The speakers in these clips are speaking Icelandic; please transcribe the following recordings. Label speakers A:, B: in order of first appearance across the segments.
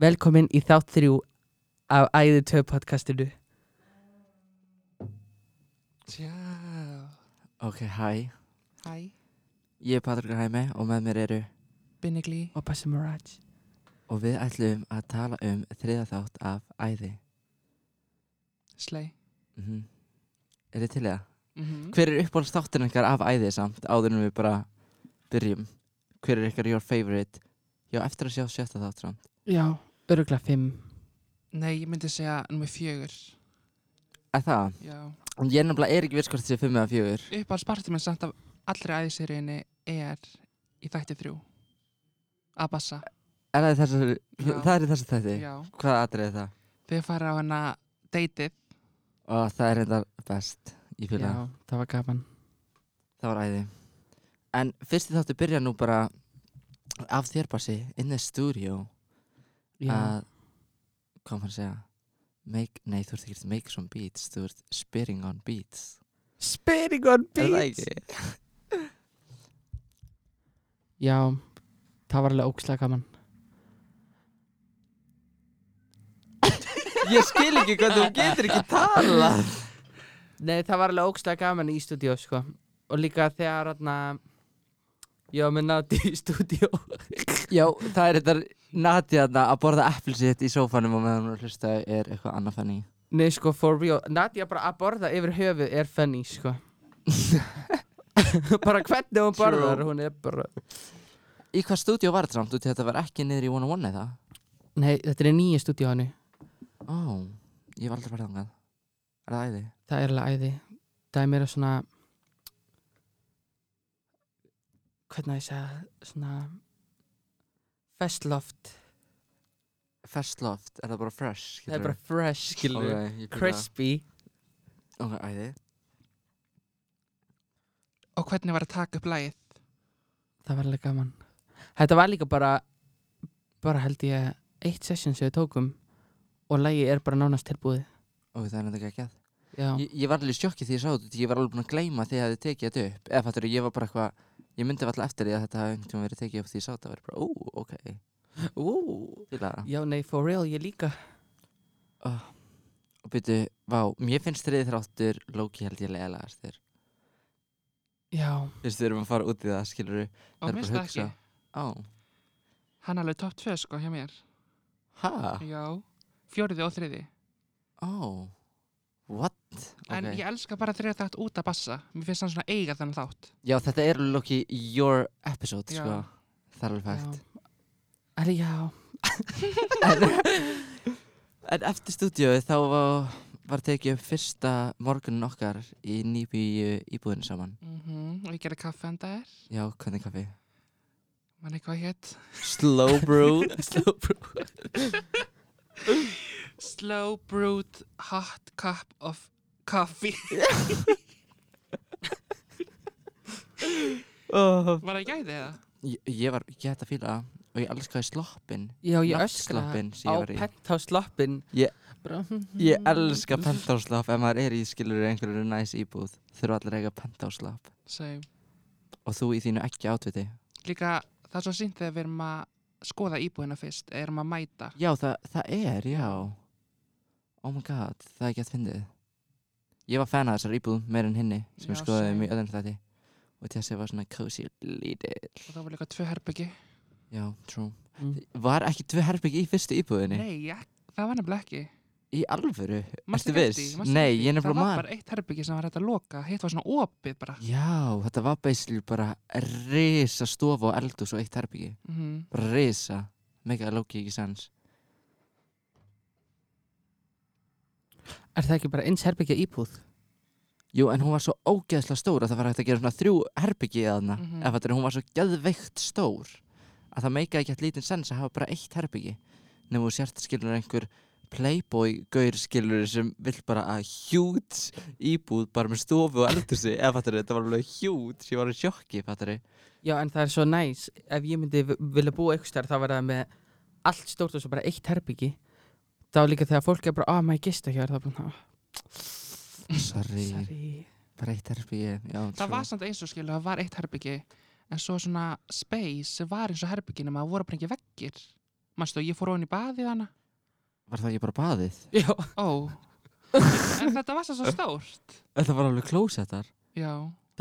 A: Velkomin í þátt þrjú af Æði 2 podcastinu
B: Tjá Ok, hæ
C: Hæ,
B: Ég er Patrik Hæmi og með mér eru
C: Binniglí
A: og Bassi Mirage
B: Og við ætlum að tala um þriða þátt af æði
C: Slei
B: mm Er þið til í það?
C: mm -hmm.
B: Hver er uppáhalds þáttin ykkar af æði samt áður en við bara byrjum? Hver er ykkar your favorite? Já, eftir að sjá sjötta þátt samt
A: Já, örugla 5
C: Nei, ég myndi segja nummer fjögur
B: Er það?
C: Já
B: Ég nefnilega er ekki viss hvort þessi fimm eða fjögur
C: Uppáhaldspartur minn samt af allri æðiseriðinni er í þætti þrjú að bassa
B: Er það í þessu,
C: Já.
B: það er í þessu þætti?
C: Já
B: Hvað atrið er það?
C: Þau fara á hana deytið
B: Og það er reyndar best Ég fylg það
A: Já, það var gaman
B: Það var æði. En fyrst þáttu byrja nú bara af þér Bassi, in the studio
A: Já,
B: að, hvað á maður að segja make, nei þú ert ekki að make some beats þú ert spitting on beats
A: Spinning on
B: Er það
A: beats
B: ekki?
A: Já, það var alveg ókslega gaman
B: Ég skil ekki hvað þú getur ekki tala
A: Nei, það var alveg ókslega gaman í stúdíó sko Og líka þegar atna, ég var með nátt í stúdíó
B: Já, það er þetta Nadia þarna að borða eppilsitt í sófanum og meðan hún er að hlusta er eitthvað annað fannig
A: Nei, sko, for real Nadia bara að borða yfir höfuð er funny, sko Bara hvernig hún
B: True.
A: borðar, hún er bara
B: Í hvað stúdíu var þetta samt? Út í Þetta var ekki niður í 101 eða?
A: Nei, þetta er nýja stúdíó hannu
B: Ó, ég var aldrei verið þangað Er það æði?
A: Það er alveg æði Það er meira svona Hvernig á ég að segja það? Svona Festloft
B: Ferst loft, er það bara fresh?
A: Það er
B: geturðu?
A: bara fresh, skilur
B: Ok,
A: okay.
B: ég fíla það.
A: Crispy
B: Ok, æði
C: og hvernig var að taka upp lagið
A: Það var alveg gaman Þetta var líka bara Bara held ég eitt session sem við tókum Og lagið er bara nánast tilbúið
B: Ok, það er enda ekki að gæð
A: Já,
B: ég, ég var alveg sjokkið því ég sá þetta Ég var alveg búin að gleyma því að þið tekið þetta upp Eða fattur, ég var bara eitthvað Ég myndi alltaf eftir því að þetta hafði einhvern tíma verið tekið upp Því ég sá þetta og verið bara, ú, ok Ú, fíla það
A: Já nei, for real, ég líka
B: Og byrju, vá, mér finnst þriði þráttur Loki held ég leðalegast þér
A: Já,
B: Þú veist, við erum að fara út í það, skilur við
C: og
B: er bara
C: minnst
B: að
C: það ekki
B: hugsa. Á,
C: hann er alveg topp 2 sko hjá mér
B: ha,
C: Já fjóriði og þriði
B: á What?
C: en
B: Ok.
C: ég elska bara þriða þátt út að bassa mér finnst hann svona eiga þann þátt
B: Já, þetta er Loki your episode,
C: Já.
B: sko Það er alveg hægt
A: já Alveg já
B: En eftir stúdíóið þá var, var tekið upp fyrsta morgunin okkar í nýbíu íbúðinu saman.
C: mm
B: Mhm.
C: og ég gerði kaffe en það er
B: Já, hvernig kaffi?
C: mann eitthvað hétt
B: Slow brew. Slow brew.
C: Slow brewed hot cup of coffee
A: oh.
C: Var það gæði það?
B: Ég, ég var gett að fíla það og ég elskaði sloppin.
A: Já, ég öskra
B: Náttsloppin sem
A: á
B: ég var í.
A: pentásloppin
B: Ég-
A: Bara- hm,
B: Ég elska pentáslopp ef maður er í skilur einhverju næs íbúð. Þurfa allir að eiga pentáslopp.
C: Same.
B: Og þú í þínu ekki átviti.
C: Líka það er svo sínt þegar við erum að skoða íbúðina fyrst eða erum að mæta
B: Já, það, það er, já. Oh my god, það er gett fyndið. Ég var fan af þessar íbúð meir en hinni sem ég
C: Já,
B: skoðaði
C: same.
B: mjög öðrum þætti. Og þessi var svona cozy lítill.
C: og það var líka tvö herbyggi
B: Já, true.
A: Mm.
B: Var ekki tvö herbyggi í fyrstu íbúðinni?
C: Nei, ja, það var nefnilega ekki
B: Í alvöru?
C: Manstu
B: Ertu
C: ekki
B: viss?
C: eftir því? Manstu
B: Nei,
C: eftir því?
B: ég nefnilega
C: Það
B: man-
C: var bara eitt herbyggi sem var hægt að loka hitt var svona opið bara
B: Já, þetta var basically bara risa stofa og eldus og eitt herbyggi.
C: mm
B: Bara risa. Mega lóki ekki sens.
A: Er það ekki bara eins herbyggja íbúð?
B: Jú, en hún var svo ógeðslega stór að það var hægt að gera svona þrjú herbyggi í þarna.
C: Mhm.
B: Ef þetta er, hún var svo geðveikt stór að það meika ekki allítinn sens að hafa bara eitt herbyggi. Nefnum þú sért skilur einhver playboy-gaur skilur sem vill bara að hjút íbúð bara með stofu og eldursi. Ef þetta er, þetta var alveg hjút, ég var í sjokki, fattar þið.
A: Já, en það er svo næs Ef ég myndi v- vilja búa einhvers þar þá var það með allt stórt og svo bara eitt herbyggi Þá líka þegar fólk er bara, ah, maður gista hér Það er bara, ah,
B: Sorry,
A: sorry
B: bara eitt herbyggi, já.
C: Það
B: trú.
C: var samt eins og skilu, það var eitt herbyggi en svo svona space sem var eins og herbyggi nema það voru bara ekki veggir Manstu, ég fór ofan í baðið hana.
B: Var það ekki bara baðið?
A: Já,
C: Ó. en þetta var svo stórt.
B: Þetta var alveg klósettar.
C: Já.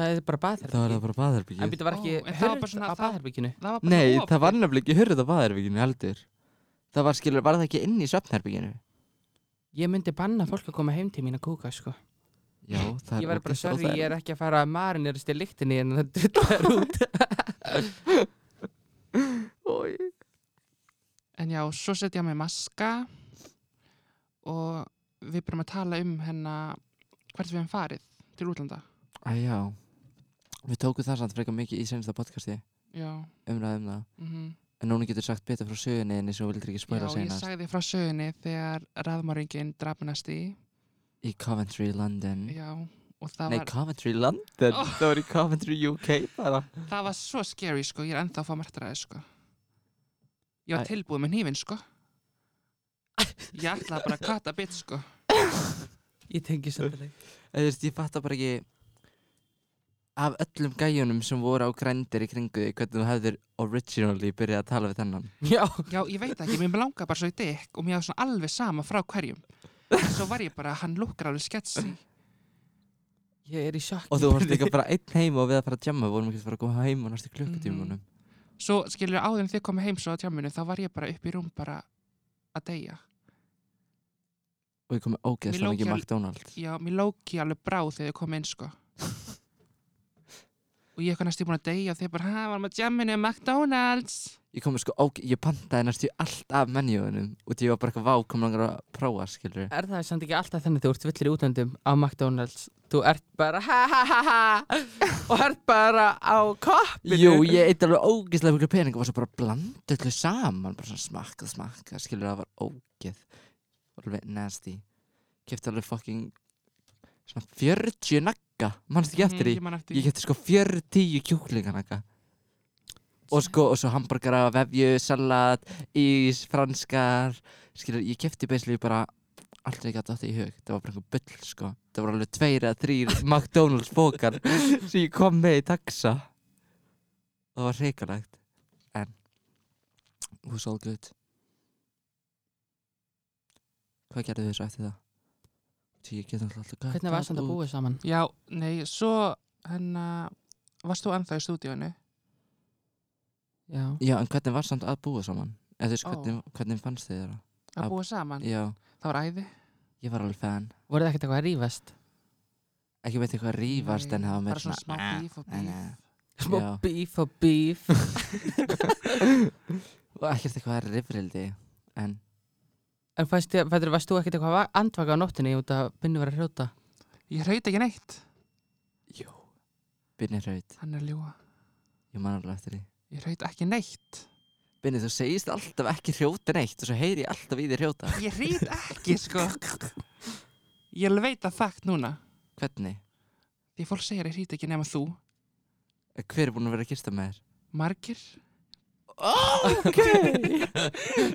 A: það er bara
B: Það var
A: baðherbyggið
B: það
A: En
B: bara baðherbyggið.
A: býttu var
C: Ó,
A: ekki
C: en það var bara
A: hurð
C: svona
A: á
C: það-
A: baðherbygginu
C: Það var bara
B: Nei,
C: opið.
B: það var nefnilega ekki hurð á baðherbygginu heldur. Það var skilur, var það ekki inn í svefnherbygginu?
A: Ég myndi banna fólk að koma heim til mín að kúka sko
B: Já, það er
A: Ég verði bara sorry,
B: ógeðslega
A: ég
B: óþægilegt.
A: er ekki að fara að marinirist í lyktinni en það drullar út
C: En já, svo setja ég á mig maska og við byrjum að tala um hennar hvert við hefum farið til útlanda.
B: Æ, já. Við tókum það samt frekar mikið í sensta podcasti,
C: Já.
B: umræðum það.
C: Mm
B: En núna getur sagt betur frá sögunni en eins og vildir ekki spóla
C: Já, ég
B: senast.
C: sagði frá sögunni þegar raðmóringin drafnast í.
B: Í Coventry, London.
C: Já, og það,
B: Mm.
C: var,
B: Nei,
C: Oh.
B: Coventry, London.
C: Ó.
B: Það var í Coventry, UK bara.
C: það var svo scary, sko. Ég er ennþá að fá martraði, sko. Ég var
B: Æ.
C: tilbúið með hnífin, sko. Ég ætlaði bara að kata bit, sko.
A: Ég tengi samtalið
B: Eða, Þú veist, ég fattar bara ekki af öllum gæjunum sem voru á grændir í kringu því hvernig þú hefðir originally byrjað að tala við þennan.
A: Já,
C: Já, ég veit ekki, mér langar bara svo í dykk og mér var svona alveg sama frá hverjum. En Svo var ég bara, hann lukkar alveg sketsi.
A: ég er í sjokk
B: Og þú varst líka bara einn heim og við að fara að jamma, við vorum ekki að fara að koma heim og næstu klukkutímunum.
C: Svo skilur áður en þið komið heim svo á tjáminu, þá var ég bara upp í rúm bara að deyja.
B: Og ég kom með ógeðslega
C: Mér
B: mikið
C: lókjal-
B: McDonald's.
C: Já, mér lóki alveg brá þegar þið komið inn, sko. og ég eitthvað næstu búin að deyja og þið bara, hæ, varum að tjáminu, McDonald's.
B: Ég kom með sko, óge... ég pantaði næstu allt af menjóðunum og því ég var bara eitthvað vá, kom langar að prófa, skilur
A: Er það samt ekki alltaf þannig þú ert villir í útlöndum á McDonalds Þú ert bara ha ha ha ha Og ert bara á koppinu
B: Jú, ég eitt alveg ógeðslega miklu pening og var svo bara bland öllu saman, bara svona smakkað, smakkað, skilur það var ógeð, alveg nasty. Kæfti alveg fucking svona 40 nagga, mannst ekki eftir því?
C: Mm, Ég man eftir því.
B: Ég kæfti sko 40 kjúklinganagga. Og sko, og svo hambúrgara, vefju, salat, ís, franskar, skilur, ég kæfti basically bara allt sem ég gæti átt í hug. Það var bara einhver bull, sko. Það var alveg tveir eða þrýr McDonalds bókar sem ég kom með í taxa. Það var hreikalegt. En, it was all good. Hvað gerðu þið svo eftir það? Því ég get alltaf alltaf gætt.
A: Hvernig var samt að búa saman?
C: Já, nei, svo, hennar, varst þú ennþá í stúdíónu?
A: Já
B: Já, en hvernig var samt að búa saman? Eða þú veist,
C: Ó.
B: hvernig, hvernig fannst þið það? Að-
C: Að búa saman?
B: Já,
C: Það var æði.
B: ég var alveg fan.
A: Voruð þið ekkert eitthvað að rífast?
B: Ekki veit eitthvað rífast en hafa með
C: bara svona smá bíf og bíf.
B: eh.
A: Smá
B: Já.
A: bíf og bíf
B: Og ekkert eitthvað rifrildi. En
A: En fannst þið, fættur, varst þú ekkert eitthvað að andvaka á nóttinni út að binnu var að hrjóta?
C: Ég hraut ekki neitt.
B: Binni hraut,
C: Hann er að ljúa.
B: ég man alveg eftir því.
C: Ég hraut ekki neitt.
B: Binni, þú segist alltaf ekki hrjóta neitt og svo heyri ég alltaf í þér hrjóta.
C: Ég hrýt ekki, sko. Ég alveg veit að þakkt núna.
B: Hvernig?
C: Því fólk segir ég hrýt ekki nema þú.
B: Hver er búin að vera að kista með þér?
C: Margir.
B: Ok!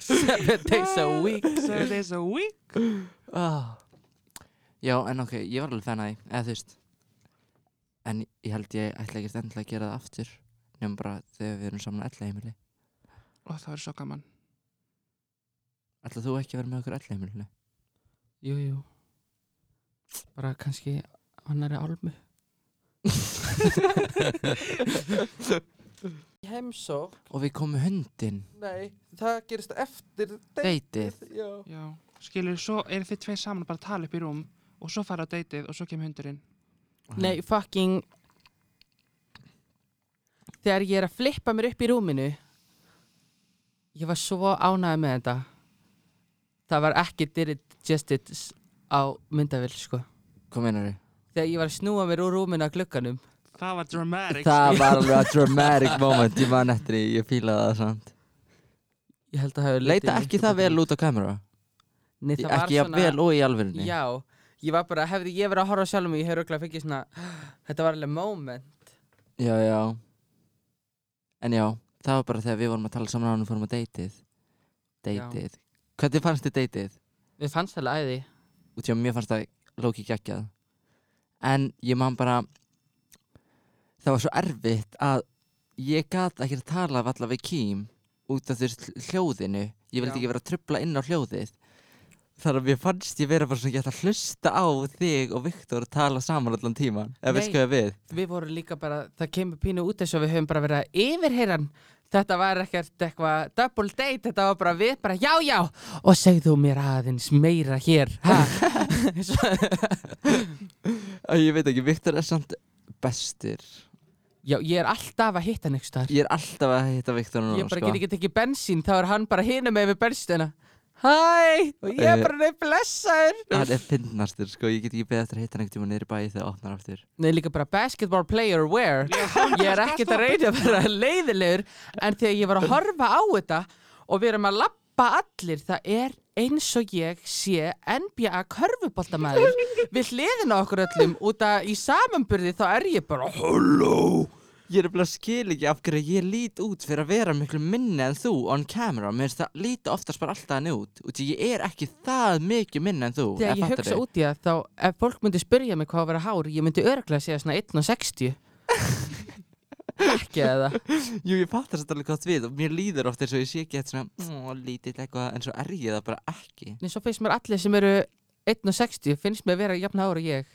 A: Seven
B: Ah.
A: days a week
C: Seven days a week. Ah.
B: oh. Já, en ok, ég var alveg fan að því, eða þú veist. En ég held ég ætla ekkert endilega að gera það aftur. Nefnum bara þegar við erum saman að ella heimili.
C: Og það verður svo gaman.
B: Ætla þú ekki að vera með okkur ella heimilinu?
A: Jú, jú Bara kannski annari álmu Heimsók,
B: Og við komum hundin,
A: nei, það gerist eftir
B: deytið.
A: Já
C: Já. Skilur, svo eru þið tveir saman bara að tala upp í rúm og svo fara á deytið og svo kemur hundurinn.
A: Nei, fucking Þegar ég er að flippa mér upp í rúminu Ég var svo ánægð með þetta Það var ekki did it justice á myndavill, sko
B: Hvað meinar þau?
A: Þegar ég var að snúa mér úr rúminu að glugganum
C: Það var dramatic.
B: Það var alveg a dramatic moment, ég man eftir því, ég fílaði það samt.
A: Ég held að hafa
B: Leita ekki það vel út á kamera?
A: Nei, það var
B: Ekki jafn
A: svona
B: vel og í alvörinni?
A: Já, ég var bara, hefði ég verið að horfa á sjálfum mig Ég hefur auðvitað fengið svona Þetta var alveg moment
B: Já, já. En já, það var bara þegar við vorum að tala saman á hann og fórum á deytið. Deytið. Hvernig fannst þið deytið?
A: Mér fannst það alveg æði
B: Út í að mér fannst það lóki geggjað. En ég man bara, það var svo erfitt að ég gat ekki að tala alltaf við kým út af þessu hljóðinu. ég vildi
A: Já.
B: ekki vera að trubla inn á hljóðið þar að mér fannst ég vera bara svona ég ætla að hlusta á þig og Viktor að tala saman allan tíman ef við
A: Nei.
B: skoðum við
A: Við vorum líka bara, það kemur pínu út þess að við höfum bara verið að yfirheyran Þetta var ekkert eitthvað double date, þetta var bara við, bara já, já Og segðu mér aðeins meira hér, ha? Svo,
B: að ég veit ekki, Viktor er samt bestur
A: já, ég er alltaf að hitta hann ykkur staðar
B: ég er alltaf að hitta Viktor núna
A: Ég bara
B: sko.
A: get ekki tekið bensín, þá er hann bara hinum með við bensina Hæ, og ég er
B: Eh.
A: bara neitt blessaður
B: hann er fyndnastur sko, ég get ekki beðið eftir að hitta hann einhvern tíma niður í bæi þegar það opnar aftur
A: Nei, líka bara basketball player where Ég er ekkert að reyna að vera leiðilegur En þegar ég var að horfa á þetta Og við erum að lappa allir Það er eins og ég sé NBA körfuboltamæður Við hliðina á okkur öllum Út að í samanburði þá er ég bara Hello
B: Ég er bara að skil ekki af hverju ég lít út fyrir að vera miklu minni en þú on camera. Mér finnst það líta oftast bara alltaf hann út. Og því ég er ekki það mikið minni en þú.
A: Þegar ég hugsa út í það þá Ef fólk myndi spyrja mig hvað að vera hár Ég myndi örglega segja svona 1.60 Ekki eða
B: Jú, ég fattar þetta alveg gott við og mér líður oft eins og ég sé ekki eitthvað svona "Mm, lítill eitthvað en svo er ég það bara ekki.
A: Nei, svo finnst mér allir sem eru 1.60 finnst mér vera jafn ára ég.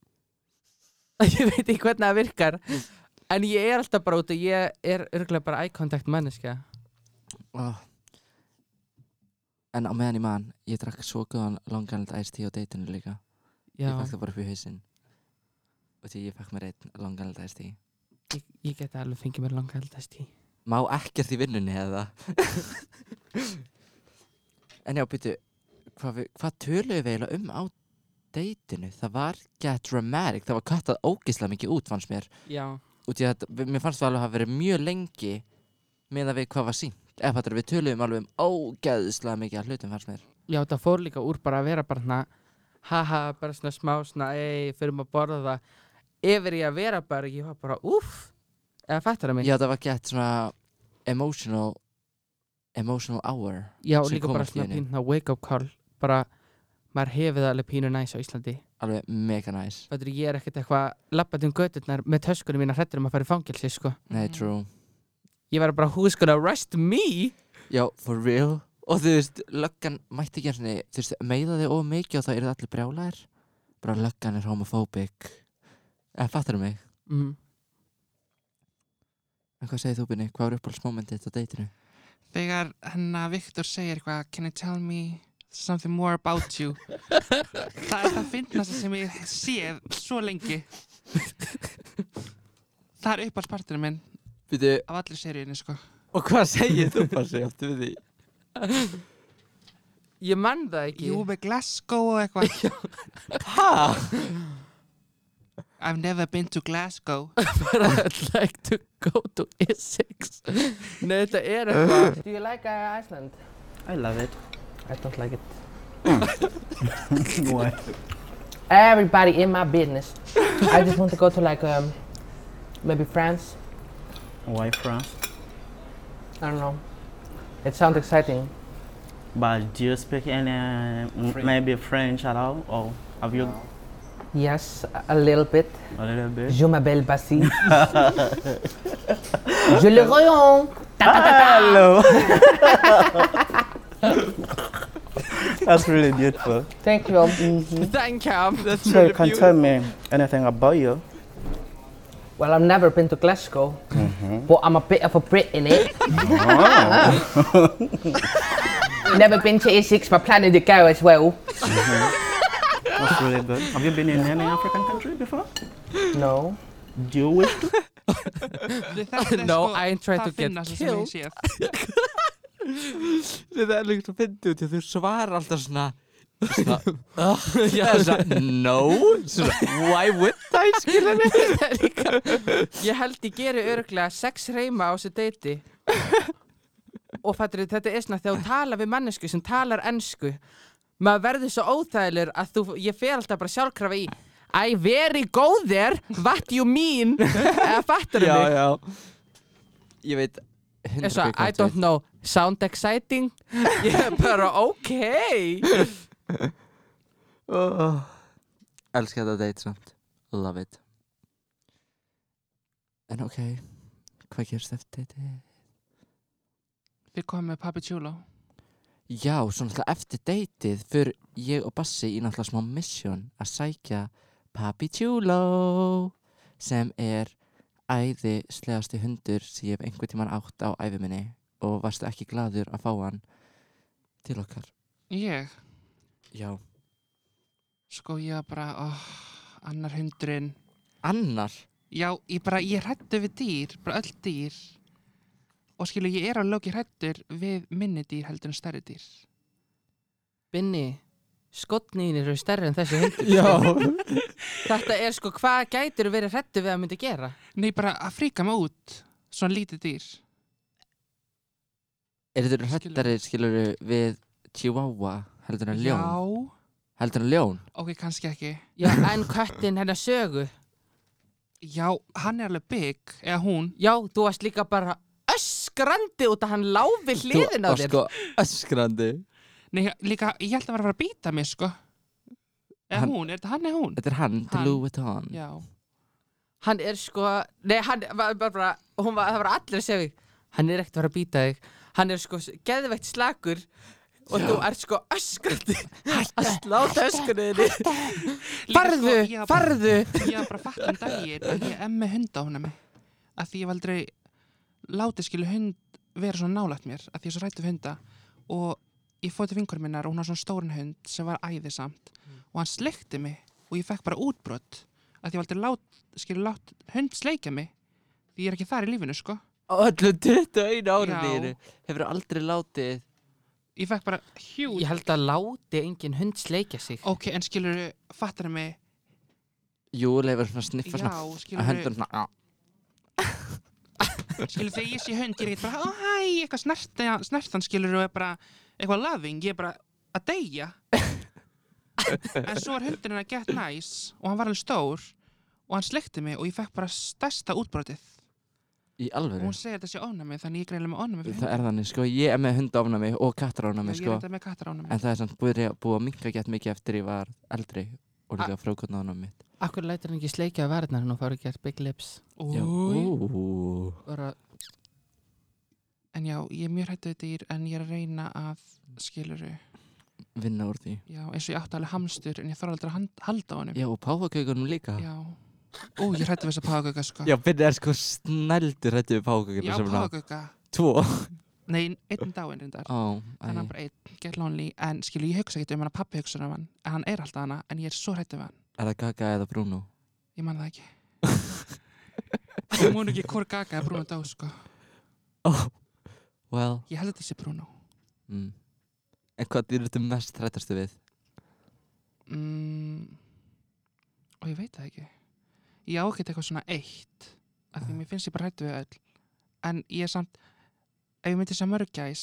A: Ég veit ekki hvernig það virkar.
B: Mm.
A: En ég er alltaf bara út og ég er örgulega bara eye contact manneska.
B: Oh. En á meðan í mann, ég drakk svo góðan langanald æsti á deitinu líka.
A: Já,
B: Ég fæk það bara upp í hausinn. Og því ég fæk mér einn langanald æsti.
A: ég, ég geti alveg fengið mér langa heldast í.
B: Má ekkert í vinnunni eða En já, byrju Hvað við- hvað töluðum við eiginlega um á deytinu? Það var get dramatic Það var kattað ógislega mikið út fannst mér
A: Já,
B: Út í að við- mér fannst það alveg að hafa verið mjög lengi með að við hvað var sínt Ef þetta við töluðum alveg um ógeðslega mikið að hlutum fannst mér
A: já það fór líka úr bara að vera bara hérna haha, bara svona smá svona, ei, förum að borða það. Yfir ég að vera bara, ég var bara, úff, eða fattar það mig?
B: Já, það var get svona emotional emotional hour
A: Já,
B: sem
A: líka
B: kom
A: bara
B: allt í
A: svona
B: einu.
A: pínu, wake up call, bara, maður hefur það alveg pínu næs á Íslandi.
B: Alveg mega næs
A: Þetta er ég er ekkert eitthvað lappandi um göturnar með töskunum mína hrættur um að fara í fangelsi, sko.
B: Nei,
C: Mhm.
B: true
A: Ég var bara, who's gonna arrest me?
B: Já, for real Og þú veist, löggan mætti ekki henni Þú veist, meiða þig of mikið og þá eru allir brjálæðir Bara löggan er homofóbik En fattar mig
A: Mm.
B: En hvað segir þú, Binni? Hvað er uppáhaldsmomentið þitt á deitinu?
C: Þegar hennar Viktor segir eitthvað Can you tell me something more about you? það er það finnast sem ég séð svo lengi. það er uppáhaldsparturinn minn
B: Býtu,
C: af allir seríunni sko.
B: og hvað segir þú bara segja aftur við því?
A: Ég mann það ekki.
C: You with Glasgow og eitthvað.
B: Ha?
C: I've never been to Glasgow.
A: bara, I'd like to go to Essex. Nei, þetta er eitthvað.
D: Do you like uh, Iceland? I love it. I don't like it.
E: Why?
D: Everybody in my business. I just want to go to like um, maybe France.
E: Why France?
D: I don't know. It sounds exciting.
E: But do you speak any, m- maybe French at all? Or have you
D: Yes, a- a little bit.
E: a little bit?
D: Je m'appelle Bassi. Je le rayon.
E: Hello! That's really beautiful.
D: Thank you.
A: Thank you. That's
E: So you can tell me anything about you.
D: Well, I've never been to Glasgow, but I'm a bit of a Brit in it. never been to Essex, but planning to go as well.
E: That's really good. Have you been in any African country before?
D: No.
E: Do you wish to?
C: Þetta er
A: No,
C: sko
A: I ain't trying to
C: það
A: get
C: finnast sem
A: killed.
C: ég séð.
B: Það er líkt að finna út í að þú svarar alltaf svona Svona, uh, já, svona, no, svona, why would I, skilur mig?
A: Það er líka. Ég held ég geri örglega sex reyma á þessu deiti. Og fattur þetta er svona þegar þú tala við mannesku sem talar ennsku. Maður verður svo óþægilegur að þú, ég fer alltaf bara sjálfkrafa í. I very go there, what you mean? Eða fattur mig?
B: já Ég veit 100%
A: Eða svo, I
B: hvað þú
A: don't
B: veit.
A: know, sound exciting? Ég er bara, ok.
B: oh. Elskar þetta date samt Love it En ok Hvað gerst eftir þetta?
C: Við komum með Papi Chulo.
B: Já, svo náttúrulega eftir deytið fyrir ég og Bassi í náttúrulega smá mission að sækja Papi Tjúló sem er æðislegasti hundur sem ég hef einhvern tímann átt á æfiminni og varstu ekki gladur að fá hann til okkar.
C: Ég,
B: Já,
C: sko ég var bara, oh, annar hundurinn.
B: annar.
C: Já, ég bara, ég hrættu við dýr, bara öll dýr. Og skilu, ég er á lögi hrættur við minni dýr heldur en stærri dýr.
A: Binni, skotniðin eru stærri en þessi hundur.
B: Já.
A: Þetta er sko, hvað gætir verið hrættu við að myndi gera?
C: Nei, bara að fríka mig út, svona lítið dýr.
B: Er þetta
C: Skilur.
B: hrættari, skilur við Chihuahua heldur en ljón?
C: Já,
B: Heldur en ljón?
C: ok, kannski ekki.
A: Já, en köttin hennar sögu.
C: Já, hann er alveg bygg, eða hún.
A: Já, þú varst líka bara öskrandi út að hann lá við
B: Þú
A: hliðin á
B: varst
A: þér.
B: Sko öskrandi.
C: Nei, líka, ég held að vera að fara að býta mig, sko. Eða
B: Hann-
C: hún, er þetta hann eða hún?
B: Þetta er hann,
C: Hann.
B: hann. Louis Vuitton.
C: Já.
A: Hann er sko, nei, hann var bara, bara hún var, það var allir að segja þig, hann er ekkert að vera að býta þig. Hann er sko geðveitt slakur og þú ert sko öskrandi að sláta öskunniðinni.
C: Líka,
A: Farðu,
C: ég var bara-
A: farðu!
C: Ég var bara fattum dagir að ég emmi hund á hana mig. Að því ég var aldrei látið skilu hund vera svona nálægt mér, að því ég er svo rættu hunda. Og ég fóði til vinkur minnar og hún var svona stórn hund sem var æðisamt. Og hann sleikti mig og ég fekk bara útbrott. Að því ég var aldrei lát, skilu lát hund sleika mig. Því ég er ekki þar í lífinu, sko.
B: Á öllu 21
C: Já.
B: árum þínu hefur aldrei látið
C: Ég fekk bara hjúl.
A: Ég held að láti engin hund sleikja sig.
C: Ok, en skilur, fattar mig,
B: Júli hefur svona sniffa
C: já,
B: svona
C: skilur,
B: að höndum svona
C: skilur þegar ég sé hund, ég er ekkert bara, ó, hæ, eitthvað snertan, snertan skilur og er bara, eitthvað loving, ég er bara að deyja. en svo var hundurinn að get nice og hann var alveg stór og hann sleikti mig og ég fekk bara stærsta útbrotið.
B: í
C: Og
B: alvöru
C: hún segir þetta sé ónæmi, þannig ég er greinilega með ónæmi fyrir
B: Það er þannig sko, ég er með hundaofnami og kattarónami
C: Já, Ég
B: sko
C: er þetta með kattar ónæmi.
B: En það er samt búið að búa minka gett mikið eftir ég var eldri og
C: Ah.
B: líka frákotnaðanum mitt
A: Akkur lætur hann ekki sleikja að verðnar hann og fara að gera big lips.
B: Já.
C: Új.
B: Ú.
A: Bara,
C: En já, ég er mjög hættu dýr en ég er að reyna að skiluru,
B: Vinna úr því
C: já, eins og ég átti alveg hamstur en ég þarf aldrei að hand- halda á honum.
B: Já og páfagaukunum líka
C: Já. Ó, ég hrætti við þessa págauka, sko.
B: Já, Binni er sko snældur hættu við páfagaukuna
C: Já,
B: sem ná
C: págauka.
B: Tvo
C: Nei, einn dáinn reyndar.
B: Ó, æ.
C: Þannig að bara einn, get lonely. En skilu, ég hugsa ekki um hann að pappi hugsa um hann. En hann er alltaf hana, en ég er svo hrætti við hann.
B: Er það Gaga eða Bruno?
C: Ég man það ekki. Ég mun ekki hvort gaga er Bruno dó, sko.
B: Well
C: Ég held að þetta sé Bruno.
B: mm. En hvað dýr ertu mest hrættastu við?
C: Mm, og ég veit það ekki. Ég á ekki eitthvað svona eitt. Af því mér finnst ég bara hrætti við öll. En ég er samt, ef ég myndi sem mörgæs,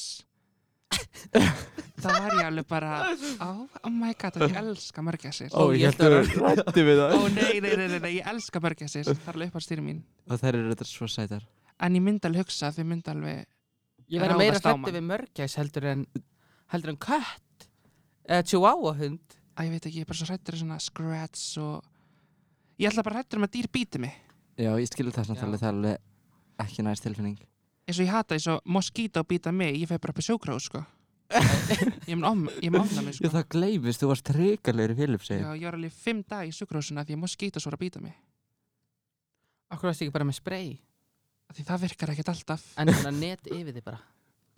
C: þá var ég alveg bara, oh, oh my god, að ég elska mörgæsir.
B: Ó, ég held að vera hrættu við það
C: Ó nei, nei, nei, nei, nei, ég elska mörgæsir Það er alveg upp á stýri mín
B: Og þær eru þetta svo sætar
C: En ég myndi alveg hugsa að þau myndi alveg
A: ég verði
C: Ráðast
A: meira
C: á
A: hrættu
C: mann.
A: við mörgæs heldur en, heldur en kött eða chihuahua hund.
C: Æ, ég veit ekki, ég er bara svo hrættur svona scratch og Ég ætla bara hrættur um að dýr bíti mig
B: Já, ég skilur það samt
A: Já.
B: alveg, það er alveg ekki næst tilfinning.
C: Eins og ég hata eins og moskíta og bíta mig Ég fer bara upp í sjókrá, sko Ég mun om, ég mun omna mig,
B: Já,
C: sko
B: það gleymist, þú varst reykalegur í Filipsið.
C: Já, ég var alveg fimm dag í sjúkrásuna því að moskíta svo að bíta mig
A: Akkur varst ekki bara með spray
C: Af Því það virkar ekkert alltaf
A: en svona net yfir þig bara.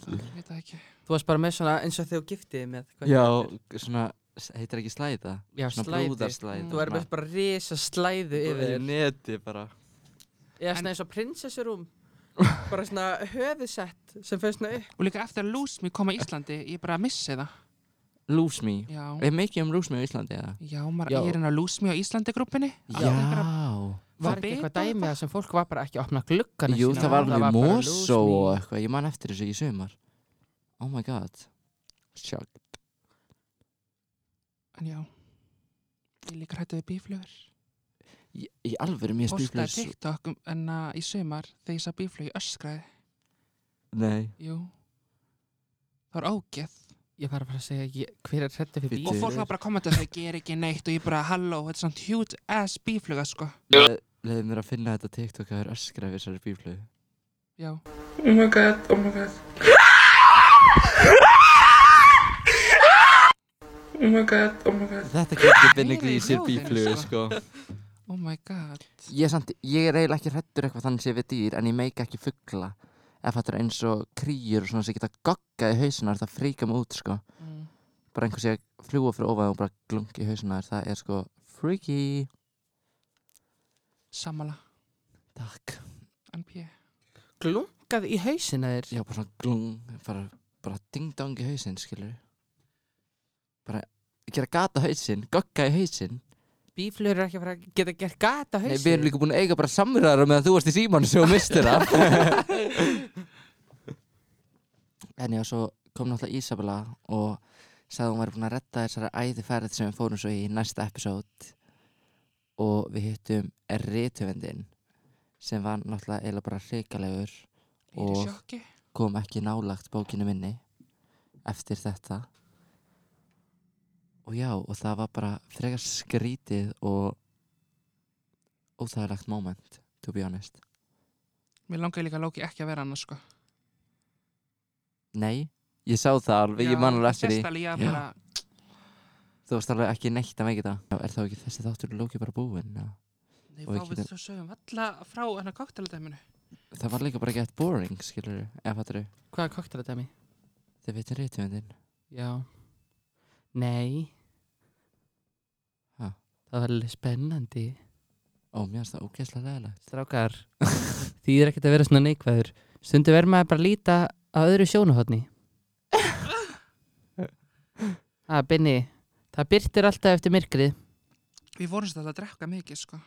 C: Ég veit það ekki
A: Þú varst bara með svona eins og þegar þú giftiði með. hvað
B: Já,
A: heitir?
B: svona, s- heitir ekki slæða?
A: Já,
B: Svona
A: slæði.
B: brúðarslæða.
A: Þú verður bara risa slæðu yfir
B: Í
A: þér.
B: neti bara.
A: Eða svona eins og prinsessurúm. bara svona höfusett sem fyrir svona upp.
C: Og líka eftir að lús mér kom að Íslandi Ég bara missi það
B: Lose me.
C: Já,
B: Er mikið um lose me á Íslandi, eða?
C: já, maður,
A: Já.
C: ég er hennar lús mér á Íslandi grúppinni
B: Já.
A: Var ekki eitthvað dæmi að sem fólk var bara ekki að opna gluggan.
B: Jú,
C: sína.
B: það var
C: Það
B: alveg
A: bara lose
B: mosó
A: me.
B: og eitthvað, ég man eftir þessu í sumar. Oh my god. Sjálf.
C: En já, ég er líka hrættu við bíflugur.
B: Í í alvöru, mér
C: Postaði
B: stýflur svo...
C: TikTok um, en að í sumar þegar ég sá bíflug í öskraði.
B: Nei.
C: Jú. Það var ógeð.
A: Ég var bara að segja, ég, hver er hrættu fyrir
B: Bíddu.
A: bíl?
C: Og fólk var bara að koma til þess að ég ger ekki neitt og ég bara halló, þetta er svona huge ass bífluga sko.
B: Leðið mér að finna þetta TikTok að vera öskra við þessari bíflögu.
C: Já.
F: Oh my god, oh my god. my god, oh my god.
B: Þetta getur ekki been
C: Meira í
B: glísir
C: hljóðinu,
B: bíflugur, sko.
C: sko. Oh my god.
B: Ég er, samt, ég er eiginlega ekki hrættur eitthvað þannig sé við dýr, en ég meika ekki fuggla. Ef þetta er eins og krýjur og svona sem geta goggað í hausina, það fríka mig út, sko.
C: Mm.
B: Bara einhver sé að fljúa fyrir ofað og bara glungi í hausina, það er sko freaky.
C: Sammála.
B: Takk.
C: NP.
A: Glunkað í hausina þér.
B: Já, bara svona glung, bara, bara ding-dong í hausinn, skilur. Bara gera gata hausinn, gogga í hausinn.
A: Bíflugur er ekki að fara að geta gert gata
B: Nei,
A: hausina.
B: við erum líka búin að eiga bara samræðar meðan þú varst í símanu sem þú mistir það. en já, svo kom náttúrulega Isabella og sagði að hún væri búin að redda þessari æðiferð sem við fórum svo í næsta episode og við hittum rítuvendin sem var náttúrulega eiginlega bara hrikalegur
C: Ég er í
B: Og-
C: sjokki.
B: kom ekki nálagt bókinu minni eftir þetta og já og það var bara frekar skrítið og óþægilegt moment to be honest
C: Mér langaði líka Loki ekki að vera annars sko.
B: nei, ég sá það alveg, ég man alveg eftir því
C: Sérstallega
B: Já.
C: bara,
B: þú varst alveg ekki neitt að meika það já, er þá ekki þessi þáttur lóki bara búinn já.
C: nei,
B: Og við
C: fá við
B: getum-
C: þú sögum alla frá hennar kátteladæminu.
B: það var líka bara gett boring skilur ef þetta eru
A: Hvað er kokteladæmi?
B: þið veitir reytumundin
A: Já. Nei.
B: Ha.
A: Það var alveg spennandi.
B: ó, mér finnst það ógeðslega leðilegt
A: Strákar, því er ekkert að vera svona neikvæður. Stundu verður maður bara að líta á öðru sjónuhotni. ah, Binni, það byrtir alltaf eftir myrkrið.
C: Við vorum svolítið að drekka mikið sko.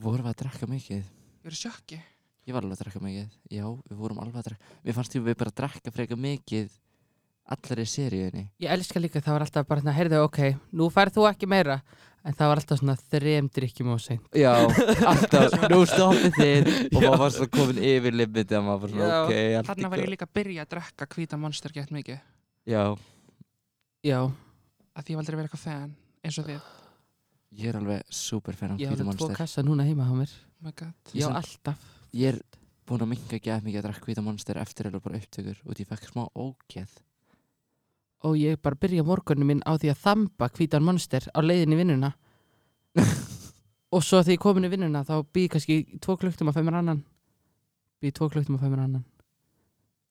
B: vorum við að drekka mikið
C: Ég er í sjokki.
B: Ég var alveg að drekka mikið, já, við vorum alveg að drekka Mér fannst því við bara að drekka frekar mikið allari seríunni
A: Ég elska líka, það var alltaf bara hérna, heyrðu, ok, nú færð þú ekki meira. En það var alltaf svona þrem drikkjum og seint.
B: Já, alltaf, nú stoppið þið og maður var svo komin yfir limitið að maður var svona,
A: Já.
B: ok, allt
C: Þarna var ég líka að byrja að drekka hvíta monster gett mikið.
B: Já,
A: Já,
C: Að því ég var aldrei að vera eitthvað fan eins og þið.
B: ég er alveg super fan af
A: ég hafði
B: hvítum
A: tvo
B: monster
A: kassa núna heima á mér.
C: Oh my god.
B: Ég
A: Já,
B: samt-
A: alltaf.
B: Ég er búin að minga ekki að mikið að drekka hvítum monster eftir eða bara upptökur og því ég fekk smá ógeð
A: og ég bara byrja morgunum minn á því að þamba hvítan monster á leiðin í vinnuna og svo því ég komin í vinnuna þá býð ég kannski í tvo klukktum að fæmur annan býð í tvo klukktum að fæmur annan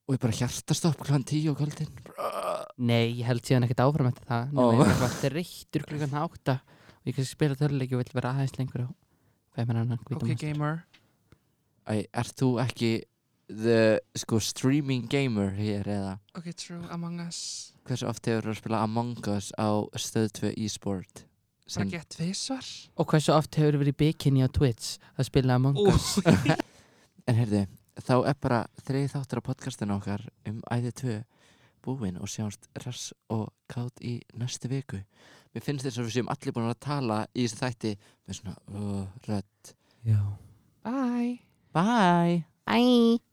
B: Og ég bara hjartastopp klukkan tíu á kvöldin
A: nei, ég held síðan ekkert áfram eftir það
B: Ó.
A: nema ég er bara þreyttur klukkan átta og ég kannski spila töluleiki og vil vera aðeins lengur og fæmur annan hvítan
C: Ok
A: monster
C: gamer.
B: Æ, ert þú ekki the, sko, streaming gamer hér eða?
C: Ok true. Among us.
B: Hversu oft hefur þú að spila Among Us á stöð 2 e-sport?
C: Bara
B: Sem,
C: gett tvisvar.
A: og hversu oft hefur verið bikini á Twitch að spila Among
C: Ú.
A: Us
B: en heyrðu, þá er bara þriði þáttur á podcastinu okkar um æði 2 búinn og sjáumst rass og kátt í næstu viku. Mér finnst þess að við séum allir búin að tala í þessu þætti með svona uh, rödd.
A: já
C: Bye.
B: Bye!
A: Æ